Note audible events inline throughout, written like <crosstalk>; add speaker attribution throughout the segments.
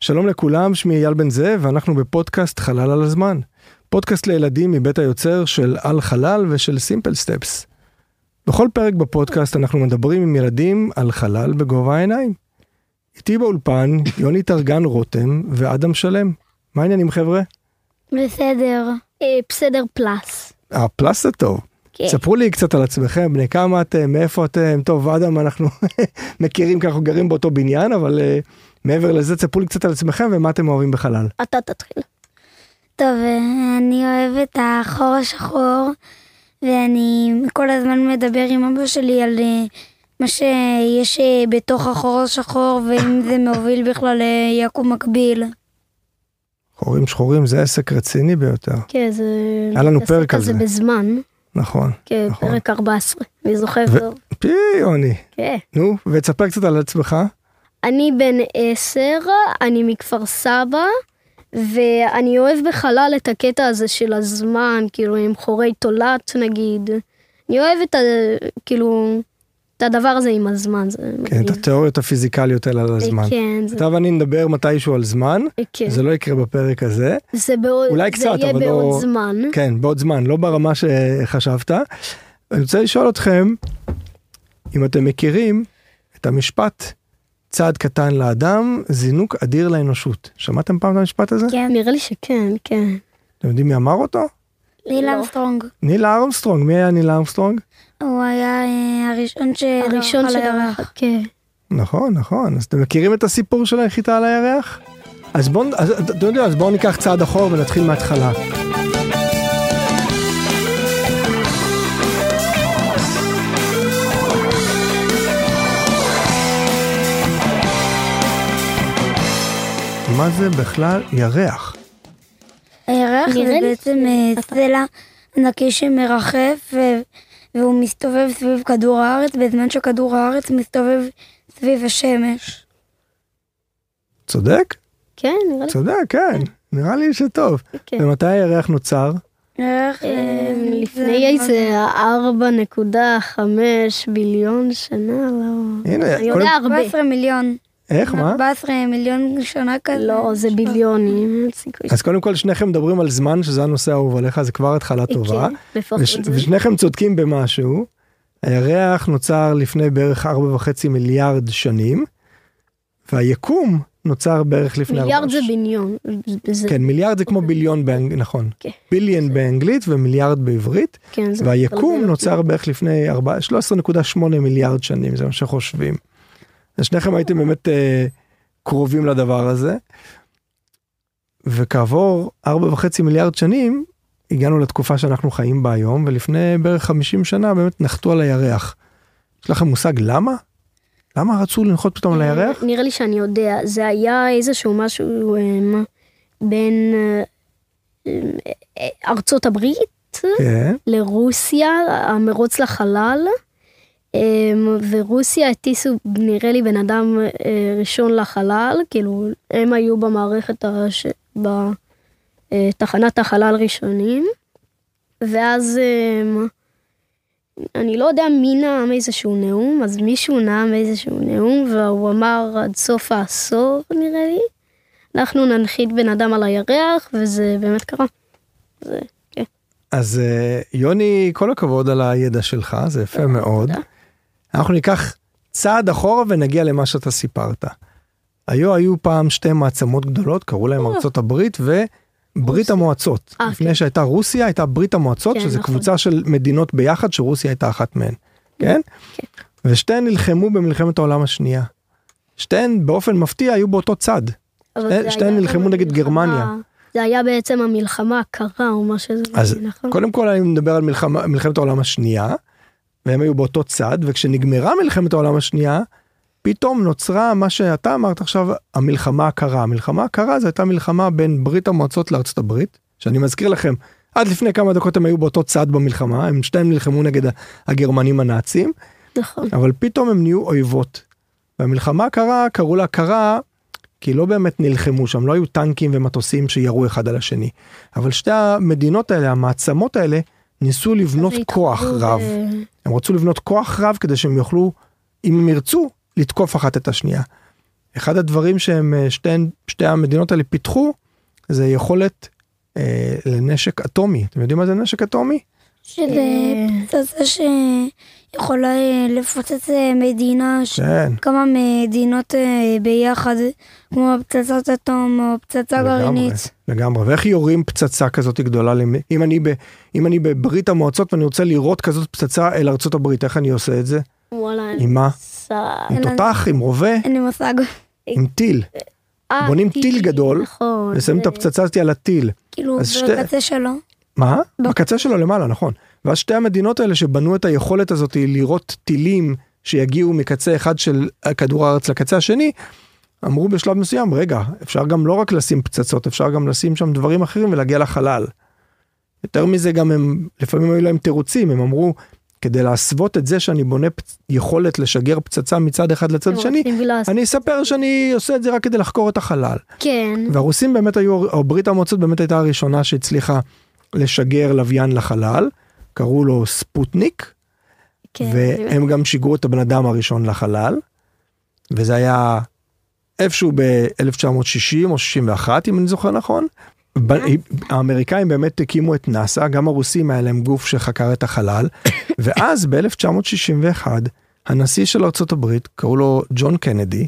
Speaker 1: שלום לכולם, שמי אייל בן זאב, ואנחנו בפודקאסט חלל על הזמן. פודקאסט לילדים מבית היוצר של על חלל ושל סימפל סטפס. בכל פרק בפודקאסט אנחנו מדברים עם ילדים על חלל בגובה העיניים. איתי באולפן יוני טרגן רותם ואדם שלם. מה העניינים חבר'ה?
Speaker 2: בסדר, אה, בסדר פלאס.
Speaker 1: אה, פלאס זה טוב.
Speaker 2: כן.
Speaker 1: ספרו לי קצת על עצמכם, בני כמה אתם, מאיפה אתם, טוב אדם אנחנו <laughs> מכירים כי אנחנו גרים באותו בניין, אבל אה, מעבר לזה תספרו לי קצת על עצמכם ומה אתם אוהבים בחלל.
Speaker 2: אתה תתחיל. טוב, אה, אני אוהב את החור השחור, ואני כל הזמן מדבר עם אבא שלי על אה, מה שיש אה, בתוך החור השחור, ואם זה מוביל בכלל ליקום מקביל.
Speaker 1: חורים שחורים זה עסק רציני ביותר,
Speaker 3: כן, זה...
Speaker 1: היה לנו פרק על זה.
Speaker 3: בזמן,
Speaker 1: נכון.
Speaker 3: כן,
Speaker 1: נכון.
Speaker 3: פרק 14, אני זוכר
Speaker 1: ו-
Speaker 3: טוב.
Speaker 1: פי יוני,
Speaker 3: כן.
Speaker 1: נו, ותספר קצת על עצמך.
Speaker 3: אני בן 10, אני מכפר סבא, ואני אוהב בחלל את הקטע הזה של הזמן, כאילו עם חורי תולעת נגיד. אני אוהב את ה... כאילו... את הדבר הזה עם הזמן, זה
Speaker 1: כן,
Speaker 3: מדהים.
Speaker 1: את התיאוריות הפיזיקליות האלה על הזמן.
Speaker 3: כן, זה...
Speaker 1: אתה ואני נדבר מתישהו על זמן,
Speaker 3: כן. אה?
Speaker 1: זה לא יקרה בפרק הזה.
Speaker 3: זה בעוד...
Speaker 1: אולי קצת,
Speaker 3: זה יהיה
Speaker 1: אבל לא-
Speaker 3: בעוד זמן.
Speaker 1: כן, בעוד זמן, לא ברמה שחשבת. אני רוצה לשאול אתכם, אם אתם מכירים את המשפט, צעד קטן לאדם, זינוק אדיר לאנושות. שמעתם פעם את המשפט הזה?
Speaker 2: כן.
Speaker 3: נראה לי שכן, כן.
Speaker 1: אתם יודעים מי אמר אותו?
Speaker 2: ניל
Speaker 3: לא.
Speaker 2: אמסטרונג.
Speaker 1: ניל ארמסטרונג. מי היה ניל ארמסטרונג?
Speaker 2: הוא היה אה, הראשון ש...
Speaker 3: הראשון של הירח. כן.
Speaker 1: נכון, נכון. אז אתם מכירים את הסיפור של הנחיתה על הירח? אז בואו, אז, אתה יודע, אז בואו ניקח צעד אחורה ונתחיל מההתחלה. מה זה בכלל ירח?
Speaker 2: הירח זה
Speaker 3: נראה לי
Speaker 2: בעצם אה, סלע ענקי שמרחף ו- והוא מסתובב סביב כדור הארץ, בזמן שכדור הארץ מסתובב סביב השמש.
Speaker 1: צודק?
Speaker 3: כן, נראה לי
Speaker 1: צודק, כן. נראה לי שטוב.
Speaker 3: כן.
Speaker 1: ומתי הירח נוצר?
Speaker 2: הירח, אה,
Speaker 3: לפני איזה 4.5 ביליון שנה, לא...
Speaker 1: הנה,
Speaker 3: אני
Speaker 1: אה, קודם-
Speaker 3: יודע הרבה.
Speaker 2: 14 מיליון.
Speaker 1: איך, מה?
Speaker 2: 14 מיליון שנה כזה.
Speaker 3: לא, זה
Speaker 2: אה,
Speaker 3: ביליונים, אין סיכוי.
Speaker 1: אז קודם כל שניכם מדברים על זמן, שזה הנושא האהוב עליך, זה כבר התחלה טובה.
Speaker 3: כן, לפחות
Speaker 1: וש-
Speaker 3: זה.
Speaker 1: ושניכם צודקים במשהו. הירח נוצר לפני בערך 4.5 מיליארד שנים, והיקום נוצר בערך לפני...
Speaker 3: מיליארד
Speaker 1: ארבע-
Speaker 3: זה ביליון. זה-
Speaker 1: כן, מיליארד זה כמו ביליון באנגלית, נכון.
Speaker 3: כן.
Speaker 1: ביליון באנגלית ומיליארד בעברית,
Speaker 3: כן, זה
Speaker 1: והיקום
Speaker 3: מבלבל
Speaker 1: נוצר בערך לפני ארבע- 13.8 מיליארד שנים, זה מה שחושבים. אז שניכם הייתם באמת אה, קרובים לדבר הזה, וכעבור 4.5 מיליארד שנים, הגענו לתקופה שאנחנו חיים בה היום, ולפני בערך 50 שנה באמת נחתו על הירח. יש לכם מושג למה? למה רצו לנחות פתאום על
Speaker 3: אותי.
Speaker 1: הירח?
Speaker 3: נראה לי שאני יודע, זה היה איזשהו משהו אמ, בין אמ, אה, ארצות הברית
Speaker 1: כן,
Speaker 3: לרוסיה, המרוץ לחלל, אמ, ורוסיה הטיסו נראה לי בן אדם אה, ראשון לחלל, כאילו הם היו במערכת, הש... בתחנת החלל ראשונים, ואז אמ, אני לא יודע מי נאם איזשהו נאום, אז מישהו נאם איזשהו נאום, והוא אמר עד סוף העשור נראה לי, אנחנו ננחית בן אדם על הירח, וזה באמת קרה. זה...
Speaker 1: אז אה, יוני, כל הכבוד על הידע שלך, זה יפה מאוד.
Speaker 3: אה, תודה.
Speaker 1: אנחנו ניקח צעד אחורה ונגיע למה שאתה סיפרת. היו היו פעם שתי מעצמות גדולות, קראו להם ארצות הברית וברית המועצות.
Speaker 3: אה,
Speaker 1: לפני
Speaker 3: כן.
Speaker 1: שהייתה רוסיה, הייתה ברית המועצות,
Speaker 3: כן,
Speaker 1: שזו
Speaker 3: נכון.
Speaker 1: קבוצה של מדינות ביחד, שרוסיה הייתה אחת מהן, כן? ושתיהן נלחמו במלחמת העולם השנייה. שתיהן באופן מפתיע היו באותו צד.
Speaker 3: אבל
Speaker 1: שתי-
Speaker 3: זה
Speaker 1: שתיהן
Speaker 3: היה
Speaker 1: נלחמו
Speaker 3: גם
Speaker 1: נגד
Speaker 3: המלחמה-
Speaker 1: גרמניה.
Speaker 3: זה היה בעצם המלחמה הקרה או מה שזה,
Speaker 1: אז
Speaker 3: נכון?
Speaker 1: קודם כל אני מדבר על מלחמה, מלחמת העולם השנייה, והם היו באותו צד, וכשנגמרה מלחמת העולם השנייה, פתאום נוצרה מה שאתה אמרת עכשיו, המלחמה הקרה. המלחמה הקרה זו הייתה מלחמה בין ברית המועצות לארצות הברית, שאני מזכיר לכם, עד לפני כמה דקות הם היו באותו צד במלחמה, הם שתיהם נלחמו נגד הגרמנים הנאצים,
Speaker 3: נכון.
Speaker 1: אבל פתאום הם נהיו אויבות. והמלחמה הקרה, קראו לה קרה, כי לא באמת נלחמו שם, לא היו טנקים ומטוסים שירו אחד על השני. אבל שתי המדינות האלה, המעצמות האלה, ניסו לבנות כוח
Speaker 3: והתחברו
Speaker 2: אה,
Speaker 1: רב.
Speaker 3: ב-
Speaker 1: הם רצו לבנות כוח רב כדי שהם יוכלו, אם הם ירצו, לתקוף אחת את השנייה. אחד הדברים שהם אה, שתי, שתי המדינות האלה פיתחו זה יכולת אה, לנשק אטומי. אתם יודעים מה זה נשק אטומי?
Speaker 2: שזה אה, פצצה שיכולה אה, לפוצץ אה, מדינה, ש-
Speaker 1: כן.
Speaker 2: כמה מדינות אה, ביחד, כמו פצצת אטום או פצצה גרעינית.
Speaker 1: לגמרי, ואיך יורים פצצה כזאת גדולה, למ- אם אני, ב, אם אני בברית המועצות ואני רוצה לירות כזאת פצצה אל ארצות הברית, איך אני עושה את זה?
Speaker 3: וואלה, אני
Speaker 1: עם מה?
Speaker 3: סע...
Speaker 1: עם
Speaker 2: אלא-
Speaker 1: תותח, עם רובה,
Speaker 2: אין לי מושג.
Speaker 1: עם טיל.
Speaker 3: אה,
Speaker 1: בונים טיל גדול,
Speaker 3: נכון.
Speaker 1: ושמים את
Speaker 3: זה-
Speaker 1: הפצצה הזאת על הטיל.
Speaker 2: כאילו,
Speaker 1: אז שתי-
Speaker 2: בקצה שלו.
Speaker 1: מה?
Speaker 3: לא.
Speaker 2: ב-
Speaker 1: בקצה שלו למעלה, נכון. ואז שתי המדינות האלה שבנו את היכולת הזאת לירות טילים שיגיעו מקצה אחד של כדור הארץ לקצה השני, אמרו בשלב מסוים, רגע, אפשר גם לא רק לשים פצצות, אפשר גם לשים שם דברים אחרים ולהגיע לחלל. יותר מזה גם הם, לפעמים היו להם תירוצים, הם אמרו, כדי להסוות את זה שאני בונה פצ... יכולת לשגר פצצה מצד אחד לצד
Speaker 3: הם
Speaker 1: שני,
Speaker 3: רוצים לעשות-
Speaker 1: אני אספר שאני עושה את זה רק כדי לחקור את החלל.
Speaker 3: כן.
Speaker 1: והרוסים באמת היו, או ברית המועצות באמת הייתה הראשונה שהצליחה לשגר לוויין לחלל, קראו לו ספוטניק,
Speaker 3: כן,
Speaker 1: והם גם שיגרו את הבן אדם הראשון לחלל, וזה היה איפשהו ב-1960 או 61 אם אני זוכר נכון. ב- האמריקאים באמת הקימו את נאסא, גם הרוסים היה להם גוף שחקר את החלל, ואז ב-1961 הנשיא של ארה"ב, קראו לו ג'ון קנדי,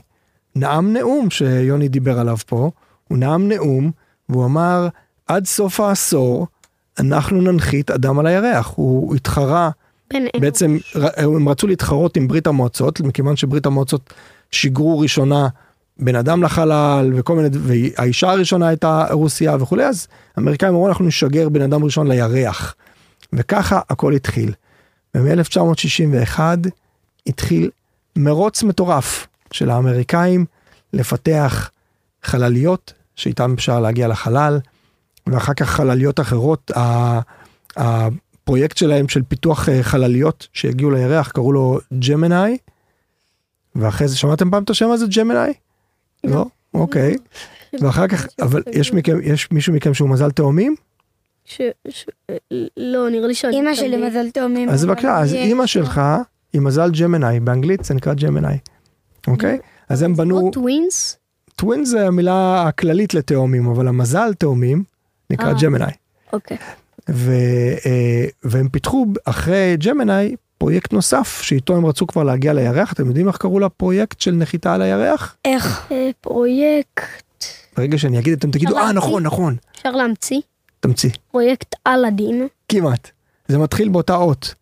Speaker 1: נאם נאום שיוני דיבר עליו פה, הוא נאם נאום והוא אמר עד סוף העשור אנחנו ננחית אדם על הירח, הוא התחרה
Speaker 3: בין-
Speaker 1: בעצם ר- הם רצו להתחרות עם ברית המועצות, מכיוון שברית המועצות שיגרו ראשונה בן אדם לחלל וכל מיני, ד- והאישה הראשונה הייתה רוסיה וכולי, אז האמריקאים אמרו אנחנו נשגר בן אדם ראשון לירח. וככה הכל התחיל. ומ-1961 התחיל מרוץ מטורף של האמריקאים לפתח חלליות שאיתן אפשר להגיע לחלל, ואחר כך חלליות אחרות. ה- הפרויקט שלהם של פיתוח אה, חלליות שהגיעו לירח קראו לו ג'מנאי. ואחרי זה שמעתם פעם את השם הזה ג'מנאי? לא? אוקיי. ואחר כך, אבל יש מכם, יש מישהו מכם שהוא מזל תאומים?
Speaker 3: ש... ש... לא, נראה לי שאני...
Speaker 2: אמא שלי מזל תאומים.
Speaker 1: אז
Speaker 2: אבל
Speaker 1: בבקשה, אז
Speaker 2: יש-
Speaker 1: אימא שלך היא מזל ג'מנאי, באנגלית זה נקרא ג'מנאי, אוקיי? אז הם בנו,
Speaker 3: או טווינס?
Speaker 1: טווין זה המילה הכללית לתאומים, אבל המזל תאומים נקרא
Speaker 3: אה.
Speaker 1: ג'מנאי.
Speaker 3: אוקיי.
Speaker 1: ו, אה, והם פיתחו אחרי ג'מנאי פרויקט נוסף שאיתו הם רצו כבר להגיע לירח, אתם יודעים איך קראו לפרויקט של נחיתה על הירח?
Speaker 2: איך?
Speaker 3: אה, פרויקט...
Speaker 1: ברגע שאני אגיד אתם תגידו, אה
Speaker 3: אמרתי.
Speaker 1: נכון נכון,
Speaker 3: אפשר להמציא?
Speaker 1: תמציא,
Speaker 3: פרויקט אלאדין.
Speaker 1: כמעט. זה מתחיל באותה אות.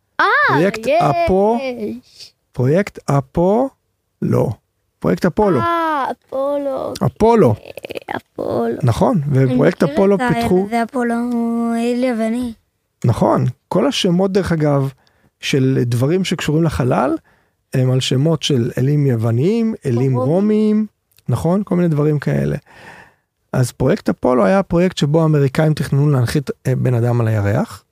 Speaker 1: פרויקט
Speaker 3: יש.
Speaker 1: אפו, פרויקט אפו, לא. פרויקט אפולו,
Speaker 3: אה, אפולו.
Speaker 1: אפולו,
Speaker 3: אה, אפולו.
Speaker 1: נכון, ופרויקט
Speaker 2: אני מכיר
Speaker 1: אפולו
Speaker 2: את ה-
Speaker 1: פיתחו,
Speaker 2: זה אפולו, הוא אלי ואני.
Speaker 1: נכון, כל השמות דרך אגב של דברים שקשורים לחלל, הם על שמות של אלים יווניים, אלים
Speaker 3: רומיים.
Speaker 1: רומיים, נכון? כל מיני דברים כאלה. אז פרויקט אפולו היה הפרויקט שבו האמריקאים תכננו להנחית אה, בן אדם על הירח,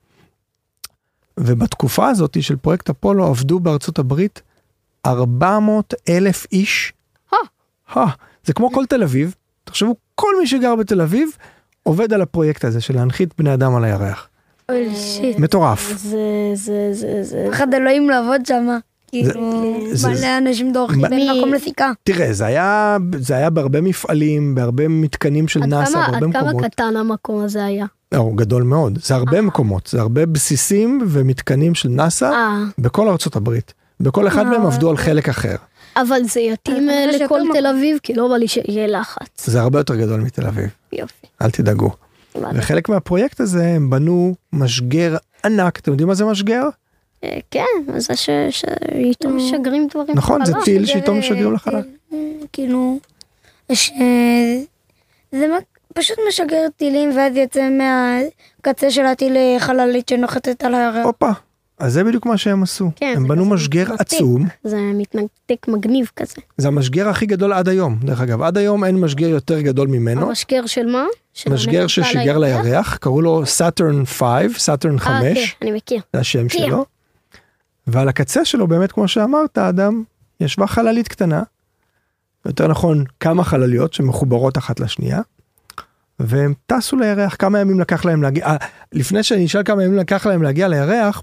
Speaker 1: ובתקופה הזאת של פרויקט אפולו עבדו בארצות הברית 400 אלף איש.
Speaker 3: אה.
Speaker 1: אה, זה כמו כל תל אביב, תחשבו, כל מי שגר בתל אביב עובד על הפרויקט הזה של להנחית בני אדם על הירח.
Speaker 2: אוי שיט.
Speaker 1: מטורף.
Speaker 3: אה, זה, זה, זה, זה.
Speaker 2: פחד אלוהים לעבוד שם. כאילו,
Speaker 1: זה-
Speaker 2: מלא אנשים דורכים בין
Speaker 3: מ-
Speaker 2: מקום לסיכה.
Speaker 1: תראה, זה היה, זה היה בהרבה מפעלים, בהרבה מתקנים של
Speaker 3: עד
Speaker 1: נאס"א,
Speaker 3: כמה-
Speaker 1: בהרבה
Speaker 3: עד
Speaker 1: מקומות.
Speaker 3: כמה קטן המקום הזה היה?
Speaker 1: או, גדול מאוד. זה הרבה מקומות, זה הרבה בסיסים ומתקנים של נאס"א
Speaker 3: אה,
Speaker 1: בכל ארצות הברית. בכל אחד
Speaker 2: אה.
Speaker 1: מהם עבדו על חלק אחר.
Speaker 3: אבל זה יתאים
Speaker 2: אני
Speaker 3: אה,
Speaker 2: חושבת
Speaker 3: לכל
Speaker 2: שיותר
Speaker 3: תל אביב, כי לא בא לי שיהיה לחץ.
Speaker 1: זה הרבה יותר גדול מתל אביב,
Speaker 3: יופי.
Speaker 1: אל תדאגו.
Speaker 3: אה.
Speaker 1: וחלק מהפרויקט הזה, הם בנו משגר ענק. אתם יודעים מה זה משגר?
Speaker 3: אה, כן, זה שאיתו משגרים דברים. לא.
Speaker 1: נכון, זה
Speaker 3: לחלל.
Speaker 1: טיל שאיתו
Speaker 2: זה-
Speaker 1: משגרים לחלל.
Speaker 2: אה, כאילו, ש... זה מ- פשוט משגר טילים ואז יוצא מהקצה של הטיל אה, חללית שנוחתת על הירח.
Speaker 1: הופה. אז זה בדיוק מה שהם עשו.
Speaker 3: אה. כן,
Speaker 1: הם
Speaker 3: זה
Speaker 1: בנו
Speaker 3: כזה
Speaker 1: משגר
Speaker 3: מתנתק.
Speaker 1: עצום.
Speaker 3: זה מתנתק מגניב כזה.
Speaker 1: זה המשגר הכי גדול עד היום. דרך אגב, עד היום אין משגר יותר גדול ממנו.
Speaker 3: המשגר של מה? של
Speaker 1: משגר
Speaker 3: הנחיתה
Speaker 1: ששיגר
Speaker 3: לירח?
Speaker 1: לירח, קראו לו סאטרן 5, סאטרן
Speaker 3: אה,
Speaker 1: 5,
Speaker 3: כן, אני מכיר.
Speaker 1: זה השם
Speaker 3: כן.
Speaker 1: שלו. ועל הקצה שלו, באמת, כמו שאמרת, אדם, ישבה חללית קטנה, יותר נכון, כמה חלליות שמחוברות אחת לשנייה, והם טסו לירח, כמה ימים לקח להם להגיע, אה, לפני שאני אשאל כמה ימים לקח להם להגיע לירח,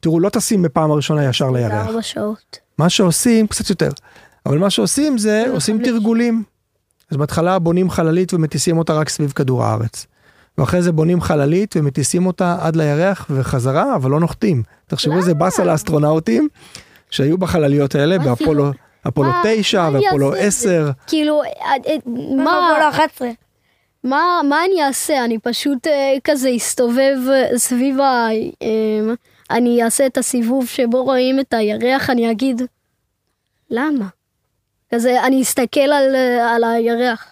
Speaker 1: תראו, לא טסים בפעם הראשונה ישר לירח.
Speaker 3: ארבע שעות.
Speaker 1: מה שעושים, קצת יותר, אבל מה שעושים
Speaker 3: כן,
Speaker 1: זה, עושים תרגולים. אז בהתחלה בונים חללית ומטיסים אותה רק סביב כדור הארץ. ואחרי זה בונים חללית ומטיסים אותה עד לירח וחזרה, אבל לא נוחתים. תחשבו איזה באסה לאסטרונאוטים שהיו בחלליות האלה,
Speaker 3: אה. מה עשינו?
Speaker 1: באפולו אפולו
Speaker 3: מה-
Speaker 1: 9
Speaker 3: מה אני
Speaker 1: ואפולו
Speaker 3: אעשה עם
Speaker 1: 10.
Speaker 3: כאילו, אה, אה,
Speaker 2: מה?
Speaker 3: מה,
Speaker 2: כל 11.
Speaker 3: מה, מה אני אעשה? אני פשוט אה, כזה אסתובב אה, סביב ה... אה, אני אעשה את הסיבוב שבו רואים את הירח, אני אגיד, למה? כזה, אני אסתכל על, אה, על הירח.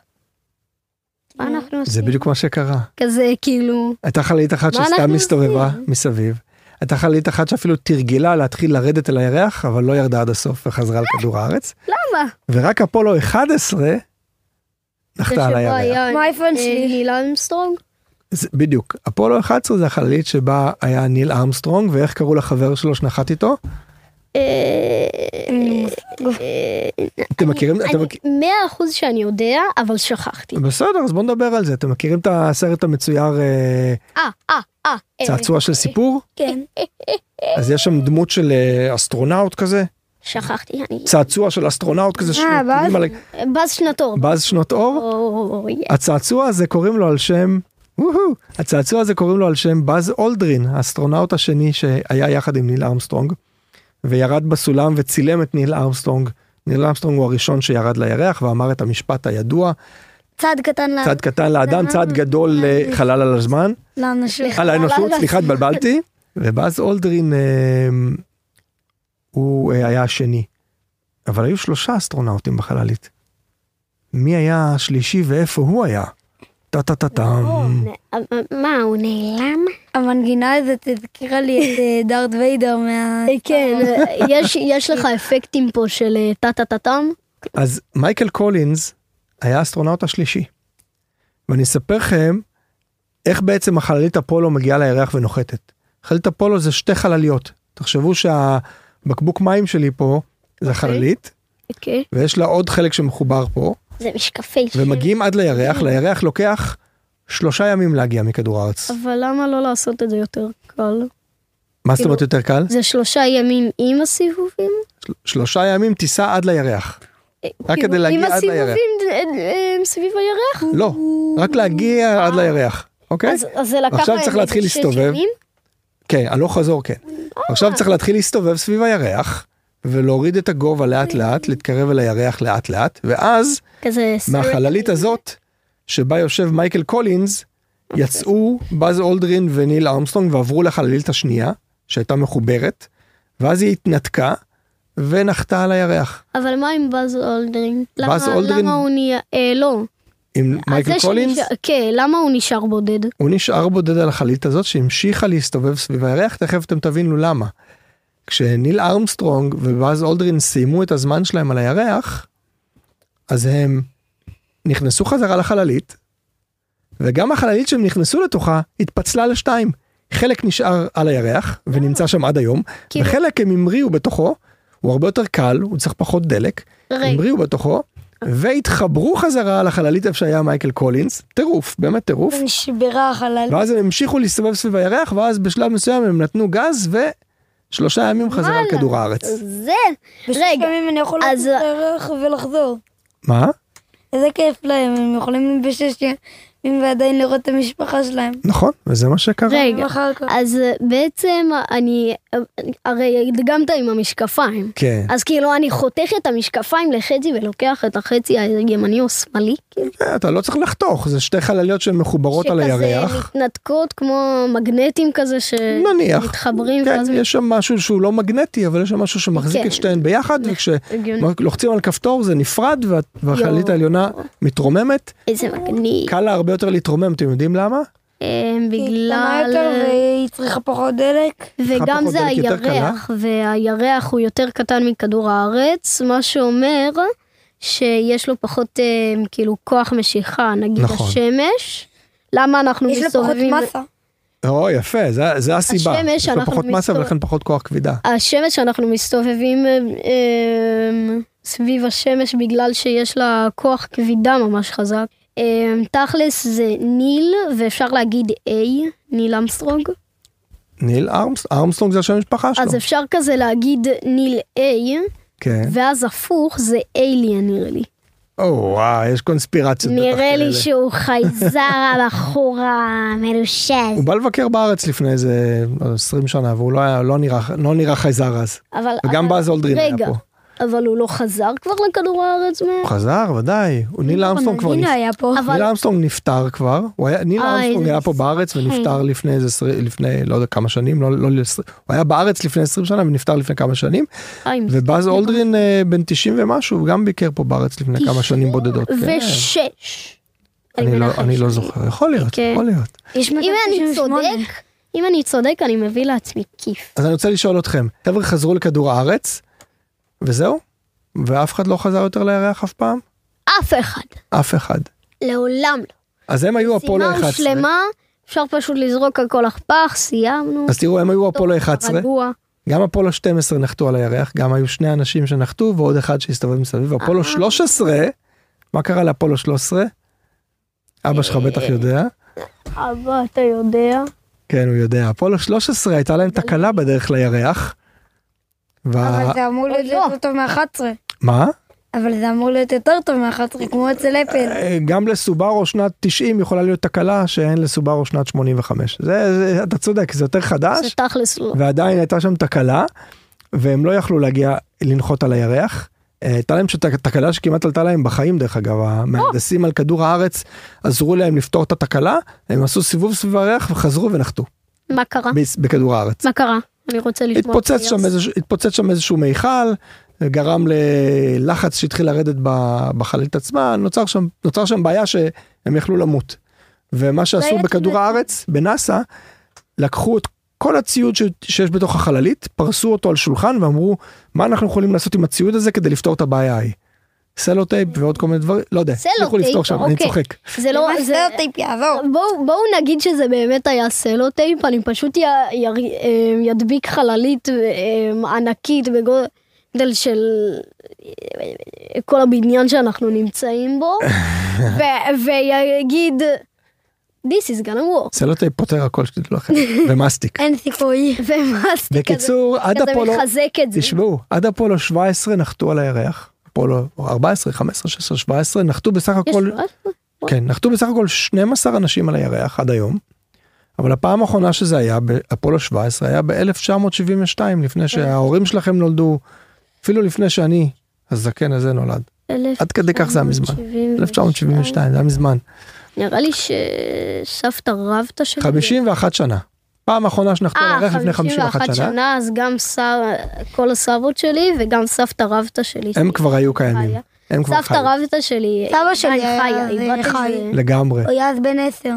Speaker 3: מה אנחנו
Speaker 1: זה
Speaker 3: עושים?
Speaker 1: בדיוק מה שקרה.
Speaker 3: כזה, כאילו,
Speaker 1: הייתה חללית אחת
Speaker 3: מה
Speaker 1: שסתם
Speaker 3: אנחנו
Speaker 1: הסתובבה
Speaker 3: עושים?
Speaker 1: מסביב. הייתה חללית אחת שאפילו תרגלה להתחיל לרדת אל הירח, אבל לא ירדה עד הסוף וחזרה לכדור הארץ.
Speaker 3: למה?
Speaker 1: ורק אפולו 11 נחתה על הירח.
Speaker 2: כמו האייפון שלי.
Speaker 3: אה, ניל אמסטרונג?
Speaker 1: זה, בדיוק. אפולו 11 זה החללית שבה היה ניל ארמסטרונג, ואיך קראו לחבר שלו שנחת איתו?
Speaker 3: אה,
Speaker 1: אתם מכירים? אתם מכ-
Speaker 3: מאה אחוז שאני יודע, אבל שכחתי.
Speaker 1: בסדר, אז בואו נדבר על זה. אתם מכירים את הסרט המצויר אה,
Speaker 3: אה, אה, אה. אה,
Speaker 1: צעצוע של סיפור?
Speaker 2: כן.
Speaker 1: אז יש שם דמות של אה, אסטרונאוט כזה,
Speaker 3: שכחתי, אני...
Speaker 1: צעצוע של אסטרונאוט
Speaker 3: אה,
Speaker 1: כזה, שמטילים
Speaker 2: באז?
Speaker 1: על
Speaker 3: באז שנתו.
Speaker 1: באז שנות אור.
Speaker 3: אוי,
Speaker 1: הצעצוע הזה קוראים לו על שם, וואו, הצעצוע הזה קוראים לו על שם באז אולדרין, האסטרונאוט השני שהיה יחד עם ניל ארמסטרונג, וירד בסולם וצילם את ניל ארמסטרונג. ניל ארמסטרונג הוא הראשון שירד לירח ואמר את המשפט הידוע,
Speaker 2: צעד קטן ל-
Speaker 1: צעד קטן לאדם, צעד גדול לחלל על הזמן.
Speaker 2: לאנשים.
Speaker 1: על האנושות, סליחה, התבלבלתי. <laughs> ובאז אולדרין אה, הוא אה, היה השני. אבל היו שלושה אסטרונאוטים בחללית. מי היה השלישי ואיפה הוא היה? טה טה טה טם.
Speaker 3: לא, מה, הוא נעלם?
Speaker 2: המנגינה הזאת הזכירה לי את אה, דארט ויידר מה...
Speaker 3: כן, יש- יש לך אפקטים פה של אה, טה-טה-טה-טם?
Speaker 1: אז מייקל קולינס היה האסטרונאוט השלישי. ואני אספר לכם איך בעצם החללית אפולו מגיעה לירח ונוחתת. חללית אפולו זה שתי חלליות. תחשבו שהבקבוק מים שלי פה זה החללית,
Speaker 3: אוקיי.
Speaker 1: ויש לה עוד חלק שמחובר פה.
Speaker 3: זה משקפי
Speaker 1: ומגיעים עד לירח,
Speaker 3: כאילו-
Speaker 1: לירח לוקח שלושה ימים להגיע מכדור הארץ.
Speaker 3: אבל למה לא לעשות את זה יותר קל?
Speaker 1: מה
Speaker 3: כאילו-
Speaker 1: זאת אומרת יותר קל?
Speaker 3: זה שלושה ימים עם הסיבובים?
Speaker 1: של- שלושה ימים טיסה עד לירח. רק
Speaker 3: כאילו,
Speaker 1: כדי להגיע עד
Speaker 3: עם
Speaker 1: לירח.
Speaker 3: הסיבובים אה, אה, אה, סביב הירח?
Speaker 1: לא, רק להגיע עד לירח, אוקיי?
Speaker 3: אה. אז- אז זה לקח
Speaker 1: עכשיו
Speaker 3: להם
Speaker 1: צריך להתחיל
Speaker 3: איזה שש
Speaker 1: להסתובב.
Speaker 3: ימים?
Speaker 1: כן, הלוך חזור כן.
Speaker 3: אה.
Speaker 1: עכשיו צריך להתחיל להסתובב סביב הירח, ולהוריד את הגובה לאט לאט, להתקרב אל הירח לאט לאט, ואז
Speaker 3: כזה... סרט.
Speaker 1: מהחללית הזאת, שבה יושב מייקל קולינס, יצאו באז אולדרין וניל ארמסטרונג ועברו לחללית השנייה, שהייתה מחוברת, ואז היא התנתקה ונחתה על הירח.
Speaker 3: אבל מה עם באז אולדרין? למה-
Speaker 1: באז אולדרין-
Speaker 3: למה הוא נהיה... אה, לא.
Speaker 1: עם מייקל
Speaker 3: אז זה
Speaker 1: קולינס,
Speaker 3: שנשאר- כן, למה הוא נשאר בודד?
Speaker 1: הוא נשאר בודד על החללית הזאת שהמשיכה להסתובב סביב הירח, תכף אתם תבינו למה. כשניל ארמסטרונג ובאז אולדרין סיימו את הזמן שלהם על הירח, אז הם נכנסו חזרה לחללית, וגם החללית שהם נכנסו לתוכה התפצלה לשתיים. חלק נשאר על הירח ונמצא שם עד היום,
Speaker 3: כאילו-
Speaker 1: וחלק הם המריאו בתוכו, הוא הרבה יותר קל, הוא צריך פחות דלק,
Speaker 3: רגע.
Speaker 1: המריאו בתוכו, והתחברו חזרה לחללית איפה שהיה מייקל קולינס, טירוף, באמת טירוף.
Speaker 2: נשברה החלל.
Speaker 1: ואז הם המשיכו להסתובב סביב הירח, ואז בשלב מסוים הם נתנו גז, ושלושה ימים חזרה על כדור הארץ.
Speaker 3: זה...
Speaker 2: רגע.
Speaker 3: רגע,
Speaker 2: אני יכול
Speaker 3: אז-
Speaker 2: לצאת לירח ולחזור.
Speaker 1: מה?
Speaker 2: איזה כיף להם, הם יכולים בשש ימים ועדיין לראות את המשפחה שלהם.
Speaker 1: נכון, וזה מה שקרה.
Speaker 3: רגע.
Speaker 2: אחר כך.
Speaker 3: אז אה, בעצם אני... אה, הרי הדגמת עם המשקפיים.
Speaker 1: כן.
Speaker 3: אז כאילו אני חותך את המשקפיים לחצי ולוקח את החצי הימני או שמאלי. כאילו,
Speaker 1: כן, אתה לא צריך לחתוך, זה שתי חלליות שהן מחוברות על
Speaker 3: שכזה
Speaker 1: הירח.
Speaker 3: מתנתקות כמו מגנטים כזה ש...
Speaker 1: נניח.
Speaker 3: מתחברים
Speaker 1: כן,
Speaker 3: ואז...
Speaker 1: יש שם משהו שהוא לא מגנטי, אבל יש שם משהו שמחזיק
Speaker 3: כן.
Speaker 1: את שתיהן ביחד, כן.
Speaker 3: הגיוני.
Speaker 1: וכשלוחצים על כפתור זה נפרד, וה- והחללית
Speaker 3: יואו.
Speaker 1: העליונה מתרוממת.
Speaker 3: איזה מגניב.
Speaker 1: קל לה הרבה יותר להתרומם, אתם יודעים למה?
Speaker 3: אה,
Speaker 2: היא קטנה
Speaker 3: בגלל... אה,
Speaker 2: יותר והיא צריכה פחות דלק.
Speaker 3: וגם
Speaker 1: פחות
Speaker 3: זה
Speaker 1: דלק יותר
Speaker 3: הירח, והירח הוא יותר קטן מכדור הארץ, מה שאומר שיש לו פחות אה, כאילו כוח משיכה, נגיד
Speaker 1: נכון.
Speaker 3: השמש. למה אנחנו
Speaker 2: יש לה פחות
Speaker 3: מסתובבים...
Speaker 2: מסה.
Speaker 1: או, יפה, זה- זה הסיבה.
Speaker 3: השמש,
Speaker 1: יש לו
Speaker 3: אנחנו
Speaker 1: פחות מסה
Speaker 3: מסתובב-
Speaker 1: ולכן פחות כוח כבידה.
Speaker 3: השמש, אנחנו מסתובבים אה, אה, סביב השמש בגלל שיש לה כוח כבידה ממש חזק. אה, תכלס זה ניל, ואפשר להגיד A, ניל אמסטרונג.
Speaker 1: ניל ארמס- ארמסטרונג זה השם המשפחה שלו.
Speaker 3: אז אפשר כזה להגיד ניל A,
Speaker 1: כן.
Speaker 3: ואז הפוך זה אייליאן נראה לי.
Speaker 1: או וואי, יש קונספירציות. בטח
Speaker 3: נראה לי
Speaker 1: כאלה.
Speaker 3: שהוא חייזר הבחור המרושז.
Speaker 1: הוא בא לבקר בארץ לפני איזה 20 שנה, והוא לא, היה, לא, נראה, לא נראה חייזר אז.
Speaker 3: אבל...
Speaker 1: וגם
Speaker 3: אבל-
Speaker 1: באז אולדרין היה
Speaker 3: רגע,
Speaker 1: פה.
Speaker 3: אבל הוא לא חזר כבר לכדור הארץ? מה?
Speaker 1: הוא חזר, ודאי. הוא ניל אמסטרונג לא, כבר
Speaker 2: הנה
Speaker 1: נפטר.
Speaker 2: היה פה.
Speaker 3: לא, אבל-
Speaker 1: ניל אמסטרונג נפטר כבר, הוא היה, ניל
Speaker 3: אה,
Speaker 1: אמסטרונג
Speaker 3: איזה
Speaker 1: היה פה בארץ ונפטר לפני איזה, עשרה- לפני לא יודע כמה שנים, לא, לא, לעשרה- הוא היה בארץ לפני 20 שנה ונפטר לפני כמה שנים,
Speaker 3: אה, עם-
Speaker 1: ובאז אולדרין אה, בן 90 ומשהו, הוא גם ביקר פה בארץ לפני כמה שנים בודדות. כן.
Speaker 3: ושש.
Speaker 1: אני לא-
Speaker 3: מנחשת.
Speaker 1: אני לא זוכר, יכול להיות,
Speaker 3: כן.
Speaker 1: יכול להיות.
Speaker 2: יש
Speaker 3: אם אני
Speaker 2: 298.
Speaker 3: צודק, אם אני צודק, אני מביא לעצמי כיף.
Speaker 1: אז אני רוצה לשאול אתכם, חבר'ה חזרו לכדור הארץ, וזהו? ואף אחד לא חזר יותר לירח אף פעם?
Speaker 3: אף אחד.
Speaker 1: אף אחד.
Speaker 3: לעולם לא.
Speaker 1: אז הם היו אפולו
Speaker 3: משימה
Speaker 1: 11.
Speaker 3: שלמה, אפשר פשוט לזרוק הכל לפח, סיימנו.
Speaker 1: אז לא תראו, הם היו אפולו 11,
Speaker 3: רגוע.
Speaker 1: גם אפולו 12 נחתו על הירח, גם היו שני אנשים שנחתו ועוד אחד שהסתובב מסביב.
Speaker 2: אה.
Speaker 1: אפולו 13, מה קרה לאפולו 13? אבא שלך
Speaker 2: אה.
Speaker 1: בטח יודע.
Speaker 3: אבא, אתה יודע.
Speaker 1: כן, הוא יודע. אפולו 13 הייתה להם תקלה בדרך לירח. וה...
Speaker 2: אבל זה אמור להיות
Speaker 3: לא.
Speaker 2: יותר טוב מ-11.
Speaker 1: מה?
Speaker 2: אבל זה אמור להיות יותר טוב מ-11, כמו אצל אפל.
Speaker 1: אה, גם לסובארו שנת 90 יכולה להיות תקלה שאין לסובארו שנת 85. זה, זה, אתה צודק, זה יותר
Speaker 3: זה
Speaker 1: חדש,
Speaker 3: תכלס לא.
Speaker 1: ועדיין הייתה שם תקלה, והם לא יכלו להגיע לנחות על הירח. אה, הייתה להם שת- תקלה שכמעט עלתה להם בחיים דרך אגב, המהנדסים על כדור הארץ עזרו להם לפתור את התקלה, הם עשו סיבוב סביב הירח וחזרו ונחתו
Speaker 3: מה קרה?
Speaker 1: ב- בכדור הארץ.
Speaker 3: מה קרה? אני רוצה לשמוע.
Speaker 1: התפוצץ
Speaker 3: את
Speaker 1: שם,
Speaker 3: היאס.
Speaker 1: איזשהו, התפוצץ שם איזשהו מיכל, גרם ללחץ שהתחיל לרדת ב- בחללית עצמה, נוצר שם, נוצר שם בעיה שהם יכלו למות. ומה שעשו
Speaker 3: בעיה
Speaker 1: בכדור
Speaker 3: תזונתית.
Speaker 1: הארץ, בנאסא, לקחו את כל הציוד ש, שיש בתוך החללית, פרסו אותו על שולחן ואמרו, מה אנחנו יכולים לעשות עם הציוד הזה כדי לפתור את הבעיה ההיא. סלוטייפ ועוד כל מיני דברים, לא יודע,
Speaker 3: סלוטייפ,
Speaker 1: הצליחו לפתור שם, אני
Speaker 3: Mm. אוקיי.
Speaker 1: צוחק.
Speaker 3: זה לא...
Speaker 2: מה
Speaker 3: זה-
Speaker 2: סטריאוטיפ יעבור.
Speaker 3: בואו בואו נגיד שזה באמת היה סלוטייפ, אני פשוט י, י, אמ, ידביק חללית אמ, ענקית בגודל של אה, כל הבניין שאנחנו נמצאים
Speaker 1: <laughs>
Speaker 3: בו, ו, ויגיד, This is gonna work. <laughs>
Speaker 1: סלוטייפ פותר הכל שתדעו לכם, ומסטיק.
Speaker 2: אין סיכוי.
Speaker 3: ומה עשיתי
Speaker 1: בקיצור,
Speaker 3: כזה,
Speaker 1: עד
Speaker 3: כזה
Speaker 1: אפולו,
Speaker 3: מחזק את זה.
Speaker 1: תשמעו, עד אפולו 17 נחתו על הירח. אפולו 14, 15, 16, 17, נחתו בסך
Speaker 3: יש
Speaker 1: הכל,
Speaker 3: משהו?
Speaker 1: כן, נחתו בסך הכל 12 אנשים על הירח עד היום. אבל הפעם האחרונה שזה היה, באפולו 17, היה ב-1972,
Speaker 3: כן.
Speaker 1: לפני שההורים שלכם נולדו, אפילו לפני שאני, הזקן הזה נולד. עד כדי כך זה היה מזמן. 1972, זה היה מזמן.
Speaker 3: נראה לי שסבתא רבתא שלי.
Speaker 1: 51 שנה. פעם האחרונה שנחתו
Speaker 3: אה,
Speaker 1: על הירח לפני 51 שנה,
Speaker 3: שנה, אז גם סב- כל הסבות שלי וגם סבתא רבתא שלי.
Speaker 1: הם כבר היו קיימים.
Speaker 3: חיה.
Speaker 1: הם כבר
Speaker 3: סבתא
Speaker 1: חיו.
Speaker 3: רבתא שלי.
Speaker 2: סבא שלי
Speaker 3: עדיין
Speaker 2: היה
Speaker 3: חיה,
Speaker 2: אז
Speaker 3: היא בת
Speaker 2: חי.
Speaker 3: איזה-
Speaker 1: לגמרי.
Speaker 2: הוא היה אז בן 10.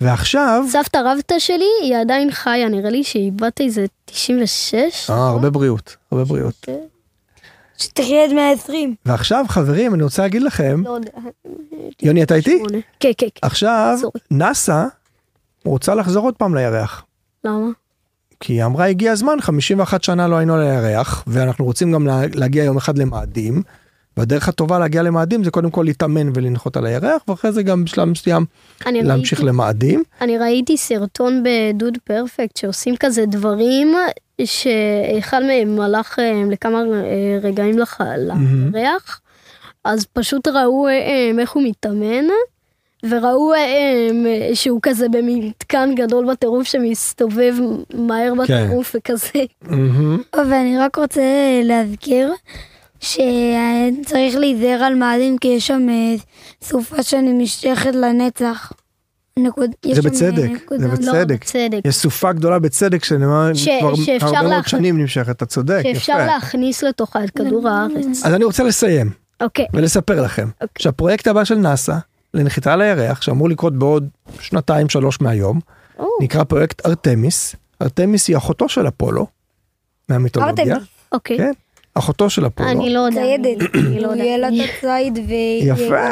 Speaker 1: ועכשיו,
Speaker 3: סבתא רבתא שלי היא עדיין חיה, נראה לי שהיא בת איזה 96.
Speaker 1: אה, הרבה בריאות, הרבה בריאות.
Speaker 2: שתחיה עד 120.
Speaker 1: ועכשיו חברים אני רוצה להגיד לכם
Speaker 3: לא יודע.
Speaker 1: יוני אתה איתי
Speaker 3: שמונה. כן, כן, כן.
Speaker 1: עכשיו
Speaker 3: סורי.
Speaker 1: נאסא רוצה לחזור עוד פעם לירח
Speaker 3: למה?
Speaker 1: כי היא אמרה הגיע הזמן 51 שנה לא היינו על הירח ואנחנו רוצים גם לה, להגיע יום אחד למאדים. והדרך הטובה להגיע למאדים זה קודם כל להתאמן ולנחות על הירח ואחרי זה גם בשלב מסוים
Speaker 3: אני
Speaker 1: להמשיך
Speaker 3: ראיתי-
Speaker 1: למאדים.
Speaker 3: אני ראיתי סרטון בדוד פרפקט שעושים כזה דברים שאחד מהם הלך אה, לכמה אה, רגעים לח- לריח, אז פשוט ראו אה, אה, איך הוא מתאמן, וראו אה, אה, שהוא כזה במתקן גדול בטירוף שמסתובב מהר
Speaker 1: כן.
Speaker 3: בטירוף וכזה.
Speaker 1: מהמם.
Speaker 2: ואני רק רוצה אה, להזכיר שצריך להיזהר על מאדים כי יש שם אה, סופה שנמשכת לנצח. נקוד... יש
Speaker 1: זה
Speaker 2: שם, אה,
Speaker 1: בצדק,
Speaker 2: נקודה.
Speaker 1: זה
Speaker 3: לא,
Speaker 1: בצדק.
Speaker 3: בצדק.
Speaker 1: יש סופה גדולה בצדק שנאמר
Speaker 3: ש-
Speaker 1: כבר
Speaker 3: שאפשר
Speaker 1: הרבה מאוד
Speaker 3: להכ-
Speaker 1: שנים נמשכת אתה צודק
Speaker 3: שאפשר
Speaker 1: יפה.
Speaker 3: להכניס לתוכה את כדור
Speaker 2: נכון.
Speaker 3: הארץ.
Speaker 1: אז אני רוצה לסיים
Speaker 3: אוקיי,
Speaker 1: כן. ולספר לכם okay.
Speaker 3: אוקיי.
Speaker 1: שהפרויקט הבא של נאסא לנחיתה על הירח שאמור לקרות בעוד שנתיים שלוש מהיום
Speaker 3: או,
Speaker 1: נקרא פרויקט ארתמיס. ארתמיס היא אחותו של אפולו מהמיתולוגיה.
Speaker 2: ארתמיס.
Speaker 3: אוקיי.
Speaker 1: כן, אחותו של אפולו.
Speaker 3: אני לא יודע.
Speaker 2: ציידת. <clears throat>
Speaker 3: אני לא
Speaker 2: הוא
Speaker 3: יודעת.
Speaker 2: יהיה לה את הציד והיא
Speaker 1: יפה,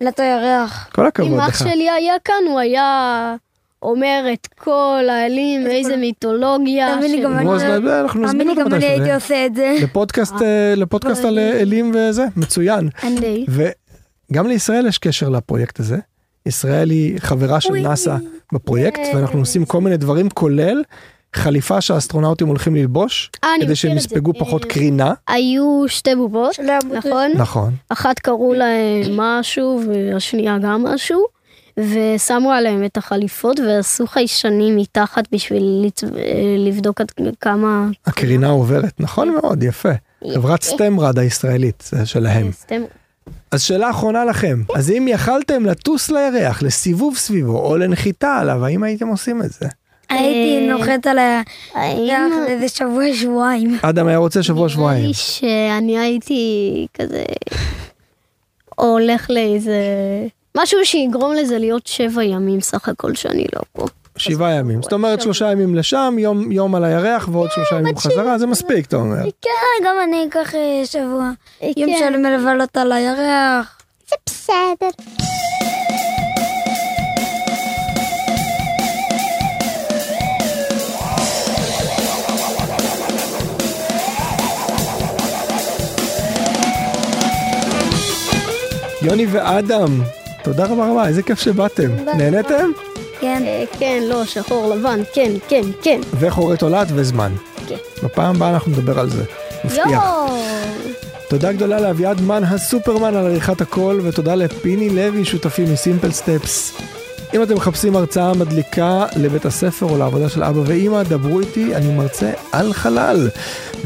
Speaker 2: לה את הירח.
Speaker 1: כל הכבוד
Speaker 3: אם אח
Speaker 1: לך.
Speaker 3: שלי היה כאן, הוא היה אומר את כל העלים, איזה מיתולוגיה.
Speaker 2: תאמין לי,
Speaker 3: של-
Speaker 2: גם אני-
Speaker 1: נו, אז נדבר, אנחנו
Speaker 2: תאמין
Speaker 1: נזמין
Speaker 2: לי,
Speaker 1: אותו
Speaker 2: גם אני
Speaker 1: מתישהו. אה.
Speaker 2: הייתי עושה את זה.
Speaker 1: לפודקאסט, אה, לפודקאסט על אה, אלים וזה, מצוין.
Speaker 3: אני-
Speaker 1: וגם לישראל יש קשר לפרויקט הזה. ישראל היא חברה של נאסא בפרויקט ואנחנו עושים כל מיני דברים כולל חליפה שהאסטרונאוטים הולכים ללבוש,
Speaker 3: אה, אני
Speaker 1: כדי
Speaker 3: מכיר
Speaker 1: שהם
Speaker 3: את זה. אה.
Speaker 1: יספגו פחות קרינה.
Speaker 3: היו שתי בובות,
Speaker 2: שלא ימותו.
Speaker 3: נכון?
Speaker 1: נכון.
Speaker 3: אחת קראו להם משהו והשנייה גם משהו, ושמו עליהם את החליפות ועשו חיישנים מתחת בשביל לצ- אה, לבדוק עד כמה...
Speaker 1: הקרינה עוברת, נכון מאוד, יפה.
Speaker 3: אה.
Speaker 1: חברת סטמרד הישראלית, זה שלהם.
Speaker 3: סתם-
Speaker 1: אז שאלה אחרונה לכם, אז אם יכלתם לטוס לירח, לסיבוב סביבו, או לנחיתה עליו, האם הייתם עושים את זה?
Speaker 2: הייתי נוחת על הירח
Speaker 3: האם-
Speaker 2: לאיזה שבוע שבועיים.
Speaker 1: אדם היה רוצה
Speaker 3: נראה
Speaker 1: שבוע-שבועיים.
Speaker 3: לי שאני הייתי כזה הולך לאיזה משהו שיגרום לזה להיות שבע ימים סך הכל שאני לא פה.
Speaker 1: שבעה ימים. זאת אומרת, שלושה ימים לשם, יום- יום על הירח ועוד שלושה ימים חזרה, זה מספיק, אתה אומר.
Speaker 2: כן, גם אני אקח אה, שבוע. יום
Speaker 3: כן.
Speaker 2: של מלבלות על הירח. זה בסדר.
Speaker 1: יוני ואדם, תודה רבה רבה, איזה כיף שבאתם. נהנתם?
Speaker 2: כן.
Speaker 3: אה, כן, לא, שחור, לבן, כן, כן, כן.
Speaker 1: וחורי תולעת וזמן.
Speaker 3: כן.
Speaker 1: בפעם הבאה אנחנו נדבר על זה. מבטיח. תודה גדולה לאביעד מן הסופרמן על עריכת הקול, ותודה לפיני לוי, שותפי מסימפל סטפס. אם אתם מחפשים הרצאה מדליקה לבית הספר או לעבודה של אבא ואימא, דברו איתי, אני מרצה על חלל.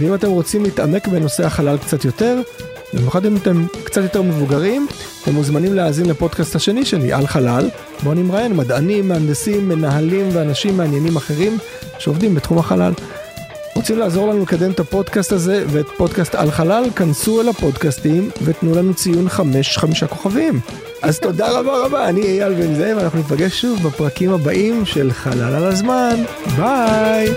Speaker 1: ואם אתם רוצים להתעמק בנושא החלל קצת יותר, במיוחד אם אתם קצת יותר מבוגרים, אתם מוזמנים להאזין לפודקאסט השני שלי, על חלל, בו נמראיין מדענים, מהנדסים, מנהלים ואנשים מעניינים אחרים שעובדים בתחום החלל. רוצים לעזור לנו לקדם את הפודקאסט הזה ואת פודקאסט על חלל? כנסו אל הפודקאסטים ותנו לנו ציון חמש, חמישה כוכבים. אז תודה רבה רבה, אני אייל בן זאב, אנחנו ניפגש שוב בפרקים הבאים של חלל על הזמן. ביי!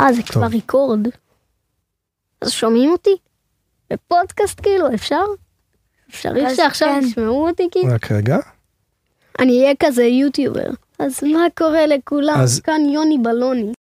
Speaker 3: אה, זה כבר
Speaker 1: טוב.
Speaker 3: ריקורד. אז שומעים אותי? בפודקאסט כאילו, אפשר? אפשרי
Speaker 2: אז
Speaker 3: שעכשיו
Speaker 2: כן.
Speaker 3: ישמעו אותי כאילו?
Speaker 1: רק רגע.
Speaker 3: אני אהיה כזה יוטיובר. אז מה קורה לכולם?
Speaker 1: אז-
Speaker 3: כאן יוני בלוני.